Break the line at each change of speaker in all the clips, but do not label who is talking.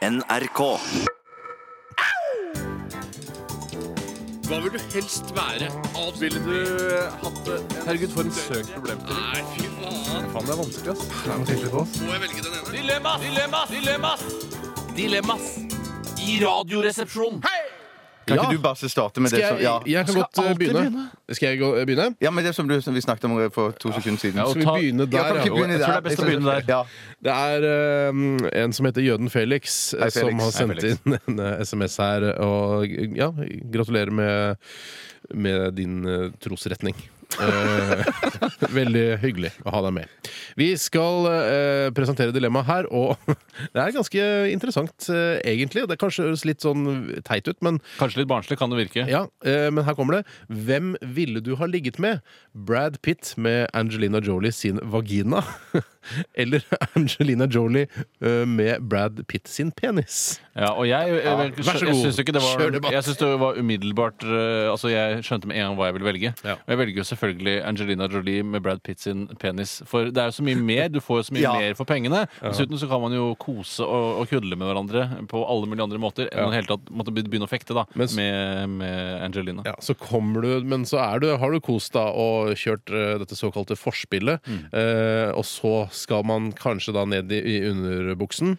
NRK.
Hva vil du helst være? Avspille
du hatt det? Herregud, for en søk problem.
Nei, fy faen.
Faen, det er vanskelig, ass.
Må jeg velge den ene? Dilemmas! Dilemmas! Dilemmas! Dilemmas i Radioresepsjonen.
Kan
Ja.
ikke du bare starte med det
Skal
som
jeg,
ja.
jeg kan
Skal
godt eh,
alltid
begynne.
begynne?
Skal jeg gå, eh, begynne?
ja, men det som, du, som vi snakket om eh, for to sekunder siden.
Ja,
Skal vi
ta-
begynne
Ja,
der,
kan ikke
ja?
begynne
Jeg
der.
tror det er best å begynne der.
Ja.
Det er eh, en som heter Jøden Felix, eh,
Hei, Felix.
som har
Hei,
sendt inn en eh, SMS her. Og ja, gratulerer med, med din eh, trosretning. Eh, veldig hyggelig å ha deg med. Vi skal eh, presentere dilemmaet her, og det er ganske interessant, eh, egentlig. Det kanskje høres litt sånn teit ut, men
Kanskje litt barnslig kan det virke.
Ja, eh, men her kommer det. Hvem ville du ha ligget med? Brad Pitt med Angelina Jolie sin vagina? Eller Angelina Jolie eh, med Brad Pitt sin penis?
Ja, og jeg, jeg, jeg,
vær så
jeg
god.
syns jo ikke det
Kjør
var
debatt.
Jeg synes det var umiddelbart eh, Altså, jeg skjønte med en gang hva jeg ville velge.
Ja.
Og jeg velger jo selvfølgelig Angelina Jolie med Brad Pitt sin penis. For det er jo så mye mer. Du får jo så mye
Ja.
mer for pengene. Dessuten så kan man jo kose og, og kudle med hverandre på alle mulige andre måter enn å hele tatt måtte begynne å fekte da
Mens-
med, med Angelina.
Ja, Så kommer du, men så er du, har du kost deg og kjørt eh, dette såkalte forspillet.
Mm.
Eh, og så skal man kanskje da ned i, i underbuksen,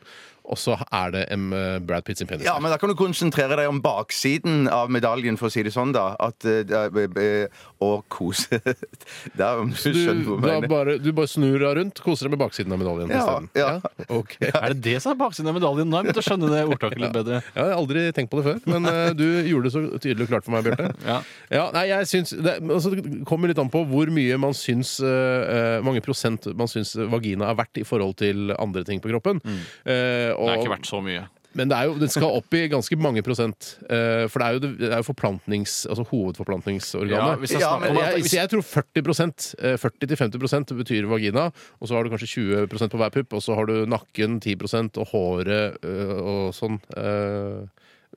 og så er det en eh, Brad Pitt sin penis.
Ja, men da kan du konsentrere deg om baksiden av medaljen, for å si det sånn, da. At, eh, da, be- be- og kose Da om du
du,
skjønner hva jeg
du, har
mener.
bare, du bare snur deg rundt, koser deg med baksiden av medaljen
Ja,
isteden.
ja.
ok.
Er det det som er baksiden av medaljen? Nå har jeg begynt å skjønne det ordtaket litt bedre.
Ja, jeg har aldri tenkt på det før, men eh, du gjorde det så tydelig og klart for meg, Bjarte.
Ja.
Ja, nei, jeg syns det, altså, det kommer litt an på hvor mye man syns eh, eh, mange prosent man syns vagina er verdt i forhold til andre ting på kroppen. Eh, og,
Det er Mm. ikke verdt så mye.
Men det, er jo, det skal opp i ganske mange prosent. eh, for det er jo, det, det er jo forplantnings, altså
Ja,
hovedforplantningsorganet.
hvis jeg
Ja,
snakker
men
om at-
jeg, så jeg tror 40 eh, 40-50 betyr vagina, og så har du kanskje 20 på hver pupp, og så har du nakken 10 og håret eh, og sånn. eh,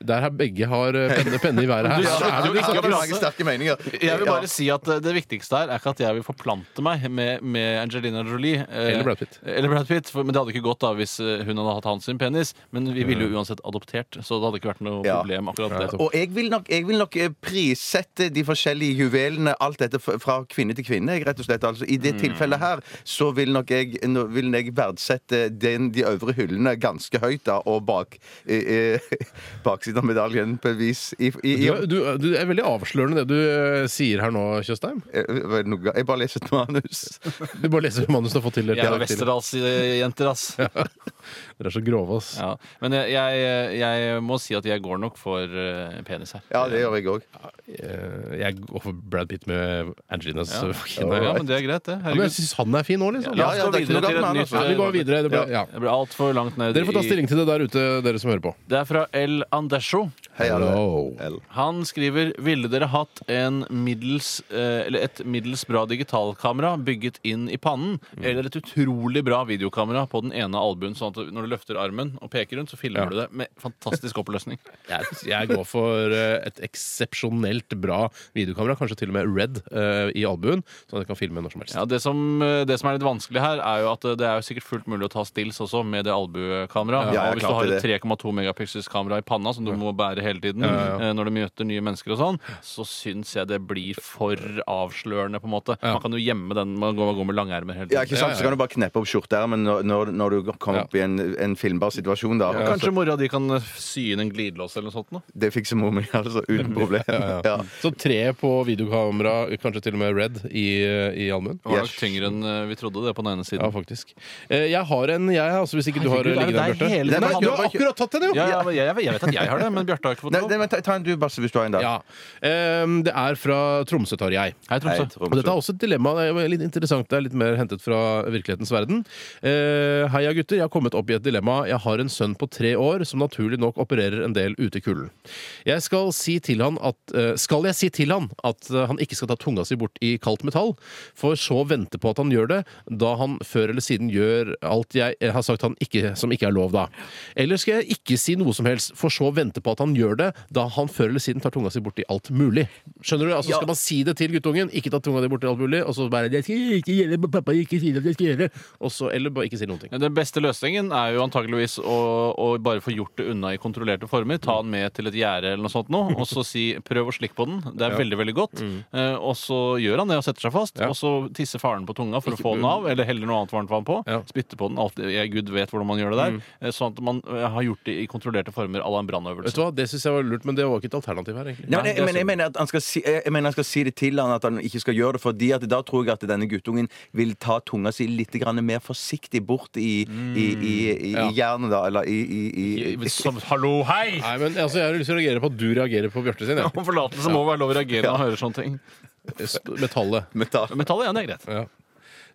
der her begge har eh, penne, penne i været her.
Du
Ja,
så er det
du,
ikke
har
plass.
mange sterke meninger.
Jeg vil
Ja.
bare si at eh, Det viktigste her er ikke at jeg vil forplante meg med, med Angelina Jolie. eh,
Eller Brad Pitt.
eller Brad Pitt, for, men det hadde ikke gått da hvis eh, hun hadde hatt hans sin penis. Men vi ville jo uansett adoptert, så det hadde ikke vært noe
Ja.
problem. akkurat
Mm. Ja,
det
Og jeg vil, nok, jeg vil nok eh, prissette de forskjellige juvelene, alt dette f- fra kvinne til kvinne. jeg, rett og slett. Altså, I det tilfellet her så vil nok jeg, nå vil jeg verdsette den, de øvre hyllene ganske høyt, da, og bak, eh, eh, baksiden av medaljen på et vis. I, i, i,
Du, du, du er veldig avslørende det du eh, sier her nå, Tjøstheim.
Eh, var det noe- jeg bare leser et manus.
Du bare leser manuset du har fått tildelt.
Jeg er
Dere til.
Westerdals-jenter, ass.
Dere er så grove, ass.
Ja. Men jeg, jeg, jeg må si at jeg går nok for eh, penis her.
Ja, det gjør jeg òg.
Eh, Jeg går for Brad Pitt med Angelinas eh,
Ja.
vagina.
Ja,
Ja,
men det er greit, det.
men jeg
Herregud.
syns han er fin nå, liksom.
La
Ja,
oss
ja,
gå
det er ikke noe
videre til et nytt
galt med
eh,
han, altså.
Vi går videre. Det ble, ja.
Jeg ble altfor langt ned
Dere får ta
i-
stilling til det der ute, dere som hører på.
Det er fra El Andesho.
Hei, alle.
Hello.
Eller-
Han skriver Ville dere hatt en middels, eh, eller et middels bra digitalkamera bygget inn i pannen, eller et utrolig bra videokamera på den ene albuen, sånn at når du løfter armen og peker rundt, så filmer
Ja.
du det med fantastisk oppløsning?
Jeg, jeg går for eh, et eksepsjonelt bra videokamera, kanskje til og med red eh, i albuen, sånn at jeg kan filme når som helst.
Ja, det som, eh, det som er litt vanskelig her, er jo at eh, det er jo sikkert fullt mulig å ta stills også med det albuekameraet.
Ja,
og hvis
klart
du har
det.
et 3,2 megapixels kamera i panna som du må bære hele tiden
Ja, ja, ja.
eh, når du møter nye mennesker og sånn, så syns jeg det blir for avslørende, på en måte.
Ja.
Man kan jo gjemme den, man går, man går med langermer hele
Ja,
tiden.
ikke sant? Så kan du bare kneppe opp skjorteermen når, når, når du kommer opp i en, en filmbar situasjon. da.
Ja, Kanskje mora di kan eh, sy inn en glidelås eller noe sånt? nå?
Det fikser mor mi altså, uten problem. Ja.
Så tre på videokamera, kanskje til og med red i, eh, i albuen.
Det var nok
Yes.
tyngre enn eh, vi trodde det på den
Ja,
ene siden.
faktisk. Eh, Jeg har en, jeg, altså, hvis ikke du har
Herregud, er det
ligget der,
deg
Bjarte.
hele
Nei,
tiden?
Du har akkurat tatt den, jo!
Ja, ja, men jeg, jeg vet at jeg har det, men Bjarte har ikke fått
Nei,
lov.
nei, men ta, ta en du, Basse, hvis du har en. da.
Ja. Em, Det er fra Tromsø, tar jeg.
Hei,
Hei,
Tromsø.
Tromsø.
Og dette er også et dilemma. Det er jo litt interessant. Det er litt mer hentet fra virkelighetens verden. Eh, heia, gutter. Jeg har kommet opp i et dilemma. Jeg har en sønn på tre år som naturlig nok opererer en del ute i kulden. Jeg skal si til han at eh, Skal jeg si til han at eh, han ikke skal ta tunga si bort i kaldt metall, for så å vente på at han gjør det, da han før eller siden gjør alt jeg har sagt han ikke, som ikke er lov, da? Eller skal jeg ikke si noe som helst, for så å vente på at han gjør gjør det, da han før eller siden tar tunga si borti alt mulig. Skjønner du? Altså
Ja.
Skal man si det til guttungen, ikke ta tunga di borti alt mulig, og så bare det skal ikke gjøre, pappa ikke si det, det skal gjøre, og så, eller bare ikke si noen ting.
Ja, Den beste løsningen er jo antakeligvis å, å bare få gjort det unna i kontrollerte former. Ta den med til et gjerde eller noe sånt nå, og så si 'prøv å slikke på den'. Det er veldig veldig godt. Eh, og så gjør han det og setter seg fast.
Mm. Ja. Mm.
Og så tisser faren på tunga for å få den av, eller heller noe annet varmt vann på.
Ja. Mm.
Spytter på den. Alt, jeg, Gud vet hvordan man gjør det der. Eh, Sånn at man eh, har gjort det i kontrollerte former à la en
Vet
brannøvelse.
du hva, Det syns jeg var lurt, men det var ikke et alternativ her, egentlig.
Nei, men, jeg, men jeg mener at han skal si, jeg jeg mener han skal si det til han at han ikke skal gjøre det, fordi at da tror jeg at denne guttungen vil ta tunga si litt grann mer forsiktig bort i, i, i, i, i
Ja.
jernet, da. Eller i, Mm, i, i, i
Som, hallo, hei!
Nei, men altså, Jeg har lyst til å reagere på at du reagerer på Bjarte sin. jeg.
Om forlatelse må være lov å reagere når man hører sånne ting.
Metallet.
metall.
Metallet igjen, det er greit.
Ja.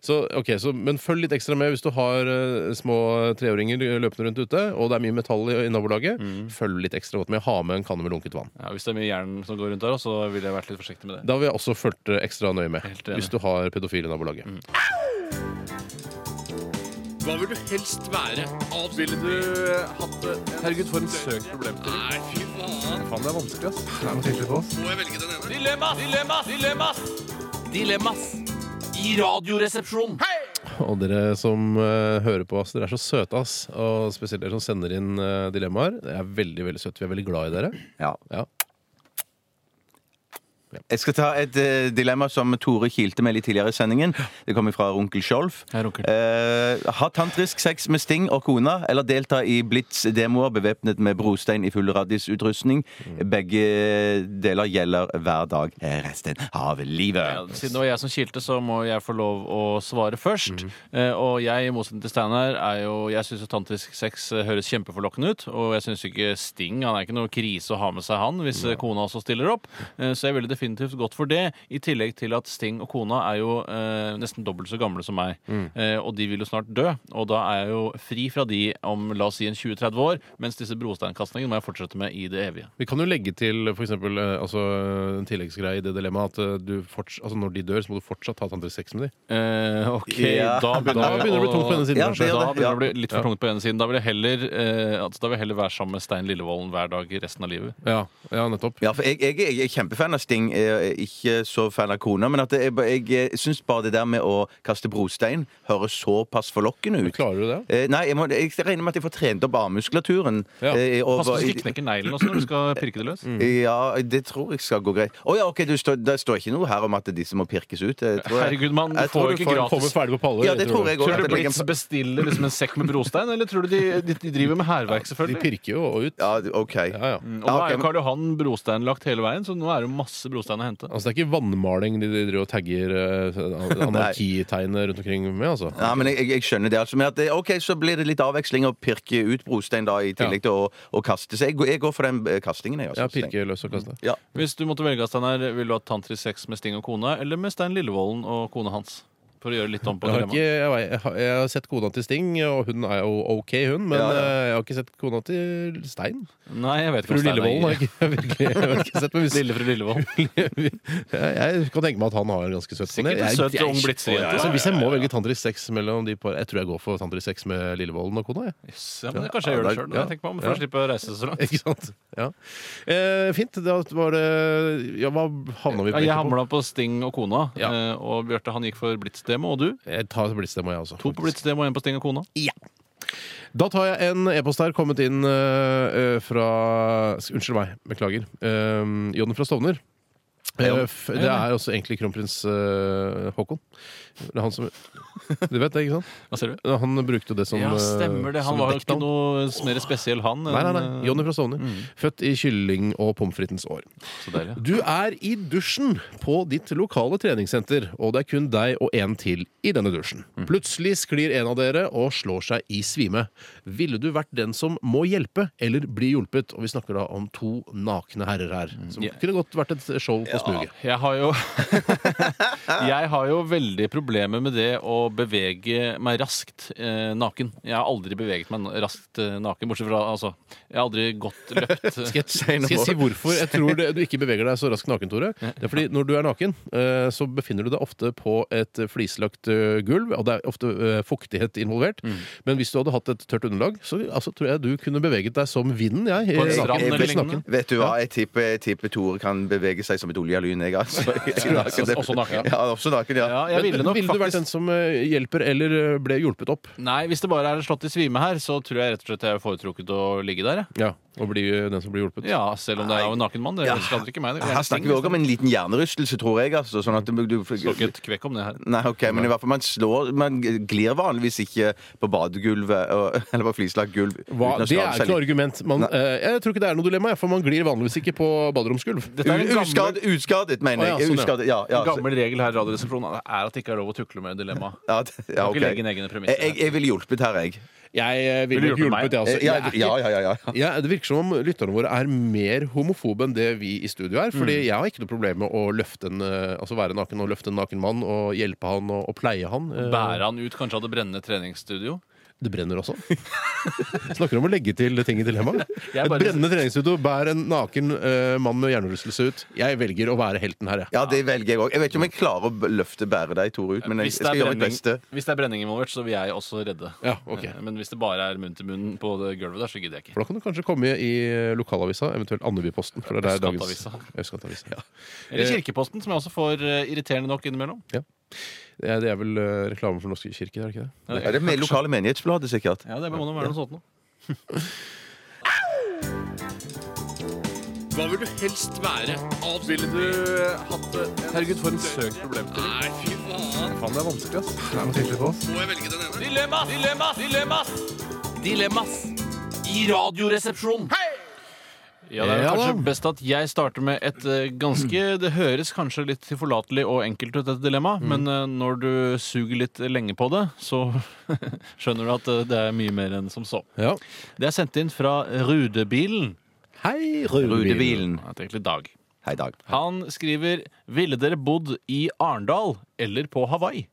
Så, ok, så, men følg litt ekstra med hvis du har eh, små treåringer løpende rundt ute, og det er mye metall i, i nabolaget.
Mm.
Følg litt ekstra godt med. Ha med en kanne med lunket vann.
Ja, hvis det er mye jern som går rundt der, så ville jeg vært litt forsiktig med det.
Da vil jeg også fulgt eh, ekstra nøye med
Helt enig.
hvis du har pedofile i nabolaget.
Mm.
Hva vil du helst være? Ville du eh, hatt det? Herregud, for en søk problemstilling. Nei, fy faen. Faen, det er vanskelig, ass. Det er noe tydelig på oss. Må jeg velge den ene? Dilemmas! Dilemmas! Dilemmas! Dilemmas! I radioresepsjonen.
Og dere som eh, hører på oss, dere er så søte, ass. Og spesielt dere som sender inn eh, dilemmaer. Det er veldig, veldig søtt. Vi er veldig glad i dere.
Ja.
Ja.
Jeg skal ta et eh, dilemma som Tore kilte med litt tidligere i sendingen. Det kommer fra onkel Skjolf.
Hei, onkel.
Eh, ha tantrisk sex med Sting og kona, eller delta i Blitz-demoer bevæpnet med brostein i full radisutrustning.
Mm.
Begge deler gjelder hver dag resten av
Ja,
livet.
siden det var jeg som kilte, så må jeg få lov å svare først. Eh, og jeg, i motsetning til Steinar, er jo Jeg syns tantrisk sex eh, høres kjempeforlokkende ut. Og jeg syns ikke Sting Han er ikke noe krise å ha med seg, han, hvis eh, kona også stiller opp. Eh, så jeg ville definitivt gått for det. I tillegg til at Sting og kona er jo eh, nesten dobbelt så gamle som meg. Eh, og de vil jo snart dø. Og da er jeg jo fri fra de om la oss si en 20-30 år, mens disse brosteinkastingene må jeg fortsette med i det evige.
Vi kan jo legge til for eksempel, eh, altså, en tilleggsgreie i det dilemmaet at eh, du forts altså, når de dør, så må du fortsatt ha tantrisk sex med dem.
Eh, ok,
Ja.
da
Da
begynner,
begynner det å bli tungt på denne siden.
Ja,
kanskje.
det gjør
Da
det.
begynner det å bli litt for tungt på ene siden. Da vil jeg heller, eh, altså, da vil jeg heller være sammen med Stein Lillevolden hver dag i resten av livet.
Ja, ja nettopp.
Ja, for jeg, jeg, jeg er kjempefan av Sting, jeg er ikke så fan av kona. Men at jeg, jeg syns bare det der med å kaste brostein høres såpass forlokkende ut.
Klarer du det?
Eh, Nei, jeg, må, jeg regner med at jeg får trent opp armmuskulaturen.
Ja.
eh, over-
Pass på så du ikke knekker neglen også når du skal pirke det løs.
Mm. Ja, det tror jeg skal gå greit. Å ja, ok, du står, Det står ikke noe her om at disse må pirkes ut. Det tror jeg.
Herregud, mann, du
Jeg tror
får jo ikke
får-
gratis.
Kommer ferdig på paller.
Ja, det tror jeg
Tror
går
du
etter
Blitz bestiller liksom en sekk med brostein, eller tror du de, de, de driver med hærverk,
De
selvfølgelig?
pirker jo ut.
Ja, Mm. ok.
Ja, ja.
Og nå er
ok,
jo
men-
Karl Johan brosteinlagt hele veien, så nå er det jo masse brostein å hente.
Altså Det er ikke vannmaling de de driver og tagger eh, anarkitegnet rundt omkring med, altså.
Nei, men jeg, jeg, jeg skjønner det. altså Men at det, ok, så blir det litt avveksling å pirke ut brostein da, i tillegg til å, å kaste. Så jeg, går- jeg går for den eh, kastingen. Jeg, altså,
Ja, pirke løs og kaste.
Ja.
Hvis du måtte velge, Steinar, vil du ha tantrisk sex med Sting og kona, eller med Stein Lillevolden og kona hans? For å gjøre litt om på
Jeg har, ikke,
dilemmaet.
jeg, vei- jeg, har, jeg har sett kona til Sting, og hun er jo OK, hun, men
Ja, ja.
eh, jeg har ikke sett kona til Stein.
Nei, jeg vet ikke
Fru
om Stein er
Lillevolden har jeg ikke, virkelig, jeg har ikke sett, men hvis,
Lille fru Lillevolden.
jeg, jeg kan tenke meg at han har en ganske søt
Sikkert en
Jeg-
søt
jeg-
ung blitzjente.
Ja, ja, ja, ja. Så Altså, Hvis jeg må velge tantrisk sex mellom de par Jeg tror jeg går for tantrisk sex med Lillevolden og kona, jeg.
Yes, ja, men kanskje jeg gjør det sjøl.
ja.
For å slippe å reise så langt.
Ikke sant? Ja. Eh, fint. Da var det Ja, hva havna vi
Ja,
på?
jeg hamla på Sting og kona,
Ja.
eh, og Bjarte han gikk for Blitz-demo. Og du?
Jeg tar blitzdemo, jeg også.
To på
faktisk.
Blitz-demo, én på Sting og kona.
Da tar jeg en e-post her, kommet inn øh, øh, fra Unnskyld meg, beklager. Uh, Jonny fra Stovner. Eh, f- det er også egentlig kronprins øh, Haakon. Det er han som Du vet det, ikke sant?
Hva ser du?
Han brukte jo det som
Ja,
øh,
stemmer det. Han
som
var jo ikke
dekknavn.
noe mm. mer spesiell, han. eh,
Nei, nei, nei. Jonny fra Stovner. Født i kylling- og pommes fritens år.
Så deilig.
Du er i dusjen på ditt lokale treningssenter, og det er kun deg og en til i denne dusjen.
Mm.
Plutselig sklir en av dere og slår seg i svime. Ville du vært den som må hjelpe, eller bli hjulpet? Og vi snakker da om to nakne herrer her. Som
Mm. Ja.
kunne godt vært et show på snuge.
Jeg har jo Jeg har jo veldig problemer med det å bevege meg raskt eh, naken. Jeg har aldri beveget meg na- raskt eh, naken, bortsett fra altså Jeg har aldri gått løpt.
Skal jeg, skal jeg si hvorfor jeg tror det, du ikke beveger deg så raskt naken, Tore? Det er fordi når du er naken, eh, så befinner du deg ofte på et flislagt eh, gulv, og det er ofte eh, fuktighet involvert.
Mm.
Men hvis du hadde hatt et tørt underlag, så altså, tror jeg du kunne beveget deg som vinden, jeg.
På en
eh,
strand
naken.
eller
Helt
lignende.
naken.
Vet du hva, jeg tipper, jeg tipper Tore kan bevege seg som et oljelyn, jeg, altså.
Også- også naken.
Ja, også naken, ja.
Ja, jeg ville nok
Ville du vært
faktisk
den som eh, hjelper eller eh, ble hjulpet opp?
Nei, hvis det bare er slått i svime her, så tror jeg rett og slett jeg har foretrukket å ligge der, jeg.
Ja, Og bli eh, den som blir hjulpet?
Ja, selv om det er jo en naken mann. Det
Ja.
skader ikke meg. Det
Her snakker vi òg om en liten hjernerystelse, tror jeg. Altså, sånn at du, du,
Står ikke et kvekk om det her.
Nei, ok, men i hvert fall man slår Man glir vanligvis ikke på badegulvet og- eller på flislagt gulv.
Hva?
uten å
Det
skade
er
seg
ikke noe argument. Man, eh, jeg tror ikke det er noe dilemma, for man glir vanligvis ikke på baderomsgulv.
Dette er en
litt. U-
gammel,
Uskadet, uskadet, mener
Å,
jeg.
ja, sånn, ja.
uskadet, ja, ja,
en gammel regel her i Radioresepsjonen det er at det ikke er lov å tukle med dilemma.
ja, det-
Kan
ja,
ikke
ok.
legge inn egne premisser.
Jeg, jeg, jeg ville hjulpet her, jeg.
Jeg eh,
Ville
ville nok
hjulpet meg.
hjulpet, jeg også.
Eh,
Jeg er
Ja,
ikke-
ja, ja, ja, ja.
Ja, Det virker som om lytterne våre er mer homofobe enn det vi i studio er. Fordi jeg har ikke noe problem med å løfte en, eh, altså være naken og løfte en naken mann og hjelpe han og, og pleie han. eh,
Bære han ut kanskje av det brennende treningsstudio.
Det brenner også. Snakker om å legge til ting i dilemmaet.
Jeg
Et
bare-
brennende treningsstudio, bær en naken eh, mann med hjernerystelse ut. Jeg velger å være helten her, jeg.
Ja, det velger jeg òg. Jeg vet ikke om jeg klarer å b- løfte bære deg, Tore, ut, men jeg, jeg
Hvis det,
skal
er
gjøre mitt
brenning,
beste.
hvis det er brenning involvert, så vil jeg også redde.
Ja, ok.
Eh, Men hvis det bare er munn til munn på det gulvet der, så gidder jeg ikke.
For da kan du kanskje komme i eh, lokalavisa, eventuelt Andebyposten. For det er der dagens
Østkantavisa.
Østkantavisa. Ja.
Eller
Eh.
Kirkeposten, som jeg også får eh, irriterende nok innimellom.
Det er- det er vel eh, reklame for Norsk kirke, er det ikke det?
Ja,
Er det med lokale menighetsbladet, sikkert?
Ja, det må nå være noe sånt noe.
Hva vil du helst være? Alt. Ville du hatt det? Herregud, for en søk problemstilling. Nei, fy faen. Faen, det er vanskelig, ass. Det er vanskelig på oss. Må jeg velge den ene?
Dilemmas! Dilemmas! Dilemmas! Dilemmas i Radioresepsjonen! Ja, Det er
Ja, da.
kanskje best at jeg starter med et eh, ganske Det høres kanskje litt tilforlatelig og enkelt ut, dette
Mm.
dilemmaet, men eh, når du suger litt lenge på det, så skjønner du at eh, det er mye mer enn som så.
Ja.
Det er sendt inn fra Rudebilen.
Hei,
Rudebilen.
Ja, det er egentlig Dag.
Hei, Dag.
Han skriver Ville dere bodd i Arendal eller på Hawaii?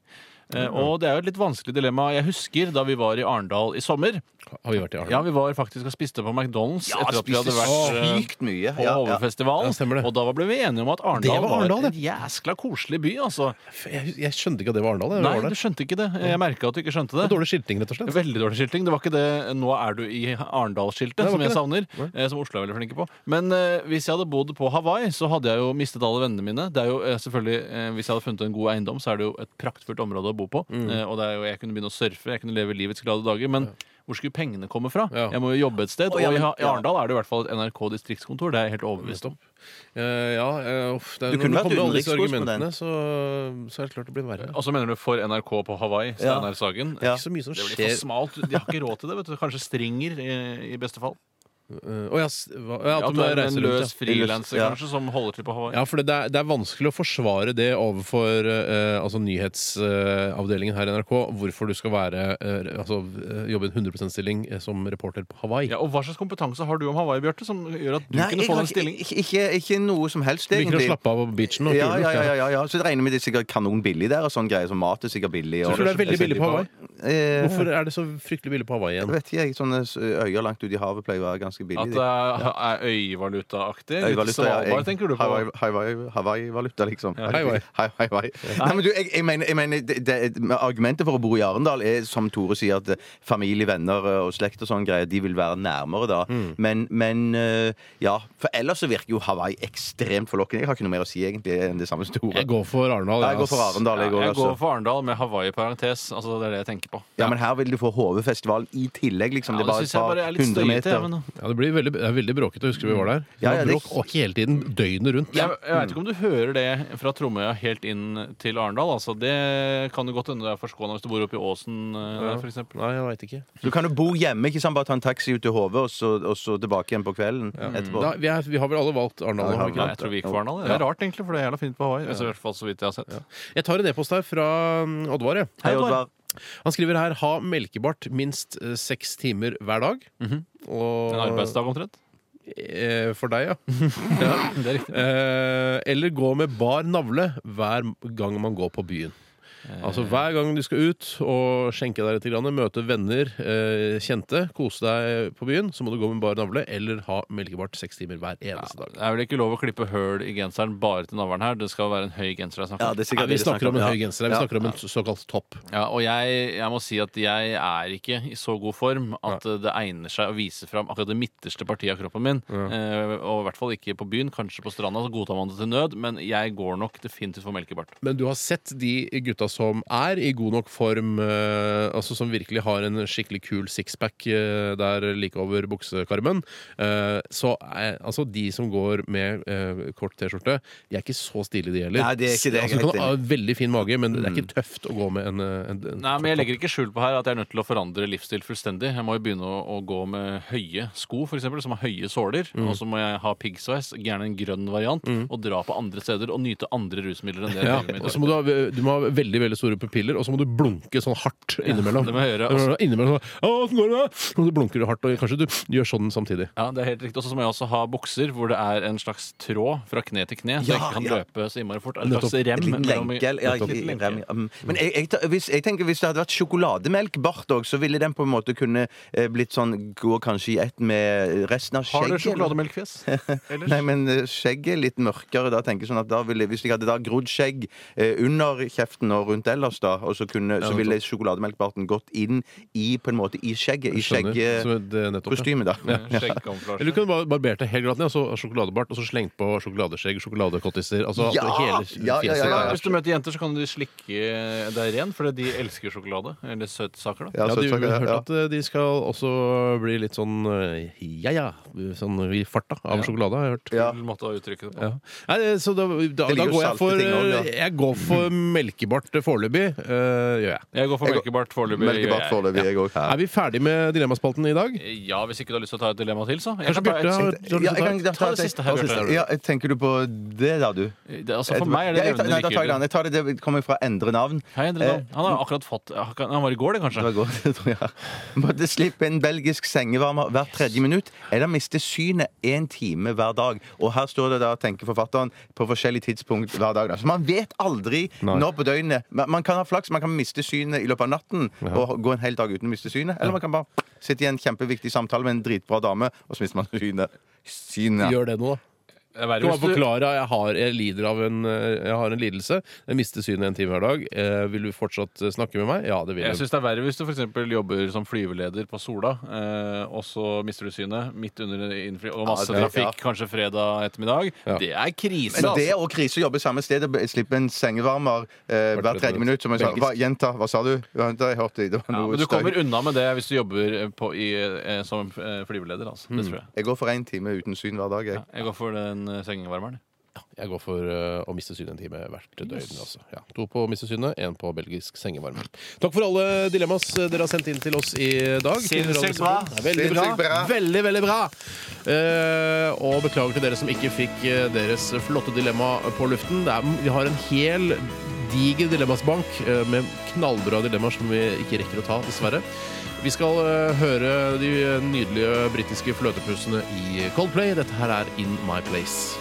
Eh, og det er jo et litt vanskelig dilemma. Jeg husker da vi var i Arendal i sommer.
Har vi vært i Arendal?
Ja, vi var faktisk og spiste på McDonald's etter at vi hadde
spiste
vært eh,
sykt mye.
på
Ja, ja.
Hovedfestivalen.
Ja, stemmer det.
og da ble vi enige om at Arendal
var
var,
Arendal, det.
en jæskla koselig by, altså.
Jeg, jeg skjønte ikke at det var Arendal. jeg.
Nei,
Det var
du
der.
skjønte ikke det. Jeg merka at du ikke skjønte det.
Dårlig skilting, rett og slett.
Veldig dårlig skilting. Det var ikke det 'nå er du i Arendal'-skiltet
Nei, det var
som jeg
ikke
savner. eh, Som Oslo er veldig flinke på. Men eh, hvis jeg hadde bodd på Hawaii, så hadde jeg jo mistet alle vennene mine. Det er jo eh, selvfølgelig, eh, Hvis jeg hadde funnet en god eiendom, så er det jo et praktfullt område å bo på.
Mm.
Eh, og det er jo, jeg kunne begynne å surfe, jeg kunne leve livets glade dager. Men hvor skulle pengene komme fra?
Ja.
Jeg må jo jobbe et sted.
ja,
og i
men-
Ha- i Arendal er det i hvert fall et NRK distriktskontor. Det er jeg helt overbevist om.
Eh, ja, eh, uff, det er,
Du kunne
når
vært
det kommer alle disse
utenrikskorrespondent.
argumentene, så, så er det klart det blir verre.
Og så mener du for NRK på Hawaii,
Ja.
Steinar Sagen.
Ja.
Ikke så mye som
Det blir for
skjer
smalt. De har ikke råd til det. vet du Kanskje stringer, eh, i beste fall.
Eh, å, ja, s- hva- ja,
Ja,
at
at
du
du
må
er en
reise
løs
rundt. Ja.
frilanser
Ja.
kanskje som holder til på Hawaii.
Ja, for det er, det er vanskelig å forsvare det overfor eh, altså nyhetsavdelingen her i NRK, hvorfor du skal være, eh, altså, eh, jobbe i en 100 %-stilling som reporter på Hawaii.
Ja, og Hva slags kompetanse har du om Hawaii, Bjarte, som gjør at du
Nei,
kunne
jeg
få
har
den
ikke,
stilling?
ikke, ikke, ikke noe som helst,
Du liker å
egentlig.
slappe av på beachen og
Ja,
kulen,
ja, ja,
ja.
ja, ja, ja. Så det regner med det er sikkert kanon billig der, og sånn greier. Så mat er sikkert billig. Og,
Jeg tror det er veldig billig på Hawaii.
Eh,
Hvorfor er det så fryktelig billig på Hawaii igjen?
Vet ikke jeg. Sånne s- øyer langt ute i havet pleier å være ganske
At
billig.
det er øyvalutaaktig? Litt
Øyvaluta, ja,
Svalbard,
jeg-
tenker du på?
Hawaii- Hawaii- Hawaii-valuta, liksom.
Hawaii.
Hai- Hawaii. Nei, men du, jeg, jeg mener, jeg mener det, det, men Argumentet for å bo i Arendal er, som Tore sier, at eh, familie, venner eh, og slekt og sånn greier, de vil være nærmere da.
Mm.
Men, men eh, ja. For ellers så virker jo Hawaii ekstremt forlokkende. Jeg har ikke noe mer å si, egentlig, enn det samme store.
Jeg går for Arendal.
Ja, jeg går for
ass.
Arendal, jeg
Ja,
òg,
jeg går
altså.
for Arendal med Hawaii i parentes. Altså, det er det jeg tenker på.
Ja, men her vil du få HV-festivalen i tillegg, liksom.
Ja,
det er
det
bare et
syns jeg bare
par
er litt
hundre
støyete.
meter.
jeg, Men,
Ja, det blir veldig, det er veldig bråkete. Husker vi var der. Det
Ja, ja,
var
det-
bråk og hele tiden, døgnet rundt.
jeg, jeg veit ikke om du hører det fra Tromøya helt inn til Arendal. Altså, det kan du godt hende du er forskåna hvis du bor oppe i Åsen, eh, for eksempel.
Nei, jeg veit ikke.
Du kan jo bo hjemme, ikke sant? Bare ta en taxi ut til HV, og så, og så tilbake igjen på kvelden etterpå.
Nei, vi, er, vi har vel alle valgt Arendal?
Ja,
har vi
det
ikke
Nei,
det?
jeg tror vi gikk for Arendal. Det er rart, egentlig, for det er jævla fint på Hawaii. Altså, i hvert fall så vidt jeg har sett.
Jeg tar en e-post her fra mm, Oddvar. jeg.
Hei, Oddvar.
Han skriver her 'ha melkebart minst eh, seks timer hver dag'.
En arbeidsdag omtrent.
eh, for deg, ja. Eh, eller gå med bar navle hver gang man går på byen. Altså Hver gang du skal ut og skjenke deg litt, grann, møte venner, eh, kjente, kose deg på byen, så må du gå med bar navle eller ha melkebart seks timer hver eneste dag.
Det er vel ikke lov å klippe høl i genseren bare til navlen her. Det skal være en høy genser. det er snakk om.
Ja, det er
Nei,
sikkert
vi
det de
snakker om en høy
ja.
genser. her. Vi snakker om en såkalt topp.
Ja, og jeg, jeg må si at jeg er ikke i så god form at eh, det egner seg å vise fram akkurat det midterste partiet av kroppen min. Eh, og i hvert fall ikke på byen. Kanskje på stranda så godtar man det til nød, men jeg går nok definitivt for melkebart.
Men du har sett de gutta som er i god nok form, eh, altså som virkelig har en skikkelig kul sixpack eh, der like over buksekarmen. Eh, så er, altså de som går med eh, kort T-skjorte, de er ikke så stilige de heller.
Nei, det er ikke det, jeg er
Altså, du
helt
kan
Mm.
ha veldig fin mage, men det er ikke tøft å gå med en, eh, en, en
Nei, men Jeg legger ikke skjul på her at jeg er nødt til å forandre livsstil fullstendig. Jeg må jo begynne å, å gå med høye sko, for eksempel, som har høye såler.
Mm.
Og så må jeg ha piggsveis, gjerne en grønn variant, og dra på andre steder og nyte andre rusmidler enn det jeg
ja,
driver med i
og
dag.
så må du, ha, du må ha veldig veldig store pupiller, og så må du blunke sånn hardt innimellom.
det må jeg gjøre. altså.
Du må innimellom sånn, «Å, åssen går det da? Og så blunker du hardt, og kanskje du gjør sånn samtidig.
Ja, det er helt riktig. Og så må jeg også ha bukser hvor det er en slags tråd fra kne til kne, så jeg ikke kan
ja.
løpe så innmari fort. En
Nettopp.
slags rem.
En liten
mellom-
lenke. eller- Ja,
Nettopp.
ikke en rem, ja. Mm. Men jeg, jeg, tar- hvis, jeg tenker hvis det hadde vært sjokolademelk bart òg, så ville den på en måte kunne eh, blitt sånn gå kanskje i ett med resten av
Har du
skjegget. eller?
sjokolademelkfjes?
Nei, men eh, skjegget er litt mørkere. Da tenker jeg sånn at da ville, Hvis jeg hadde da grodd skjegg eh, under kjeften og rundt ellers, da, og så, kunne, så ville sjokolademelkbarten gått inn i på en måte i skjegget. I
Skjønner. Så det er nettopp, ja.
skjeggkostymet, da.
Eller
Skjeggkamuflasje.
du kunne bare barbert det helt glatt ned, og så sjokoladebart, og så slengt på sjokoladeskjegg, sjokoladekottiser altså,
Ja!
at hele fjeset
Ja, ja, ja,
Ja,
der.
hvis du møter jenter, så kan du slikke deg ren, fordi de elsker sjokolade. Eller søtsaker, da.
Ja,
så
de
takk,
har hørt
ja.
at eh, de skal også bli litt sånn eh, ja ja, sånn i farta av sjokolade, har jeg hørt.
Ja.
Kul måte å uttrykke det på.
Ja. Nei, det- så da, da,
Det ligger
da
jo
går jeg
salte
for,
ting også, ja. Mm.
eh, jeg går for melkebart foreløpig. eh, gjør jeg.
Jeg går for
Jeg går-
melkebart foreløpig.
Melkebart
gjør jeg.
foreløpig, jeg òg.
Er vi ferdig med dilemmaspalten i dag?
Ja, hvis ikke du har lyst til å ta et dilemma til, så. Jeg
Kanskje
kan ta
Bjarte har
et-
har du lyst til å ta-
ta det siste her, Bjarte.
Ja, tenker du på det, da, du?
Det er- Altså, for meg er det
Ja, jeg tar- nei,
levende
da tar jeg Eh, det
likegyldig.
andre. Jeg tar det, det kommer fra endre navn.
Hei, Endre Dahl. Han har akkurat fått Han var i går, det,
Det
kanskje?
var godt, det tror jeg. Måtte slippe en belgisk sengevarmer hvert tredje minutt, eller miste synet én time hver dag. Og her står det da, tenker forfatteren, på forskjellig tidspunkt hver dag. da. Så man vet aldri når på døgnet man, man kan ha flaks, man kan miste synet i løpet av natten og gå en hel dag uten å miste synet. Eller man kan bare sitte i en kjempeviktig samtale med en dritbra dame, og så mister man synet. Synet.
Gjør det nå, da.
Det er verre
Kan
hvis
man
du-
forklare jeg har, jeg lider av en, eh, jeg har en lidelse. Jeg mister synet en time hver dag. Eh, vil du fortsatt eh, snakke med meg? Ja, det vil
Jeg
jeg.
synes det er verre hvis du for eksempel jobber som flyveleder på Sola, eh, og så mister du synet midt under innfly, og masse
det-
trafikk,
ja.
kanskje fredag ettermiddag.
Ja.
Det er krise,
Men det
altså!
og krise å jobbe samme sted og be- slippe en sengevarmer eh, hvert tredje minutt. Som jeg sa.
Belgisk.
Hva, gjenta, hva sa du? Jenta, jeg hørte det var
Ja,
noe
men du
støy.
kommer unna med det hvis du jobber eh, på, i, eh, som eh, flyveleder, altså. Det tror jeg.
Jeg går for én time uten syn hver dag. Jeg.
Jeg går for den eh, sengevarmeren.
Jeg går for eh, å miste synet en time hvert døgn. Altså. Ja, to på å miste synet, én på belgisk sengevarme. Takk for alle dilemmas eh, dere har sendt inn til oss i dag.
Sinnssykt bra.
Ja, Veldig bra.
Sinnssykt bra.
Veldig, veldig bra. Eh, og beklager til dere som ikke fikk eh, deres flotte dilemma på luften. Det er, vi har en hel diger dilemmasbank eh, med knallbra dilemmaer som vi ikke rekker å ta, dessverre. Vi skal eh, høre de nydelige britiske fløtepussene i Coldplay. Dette her er In My Place.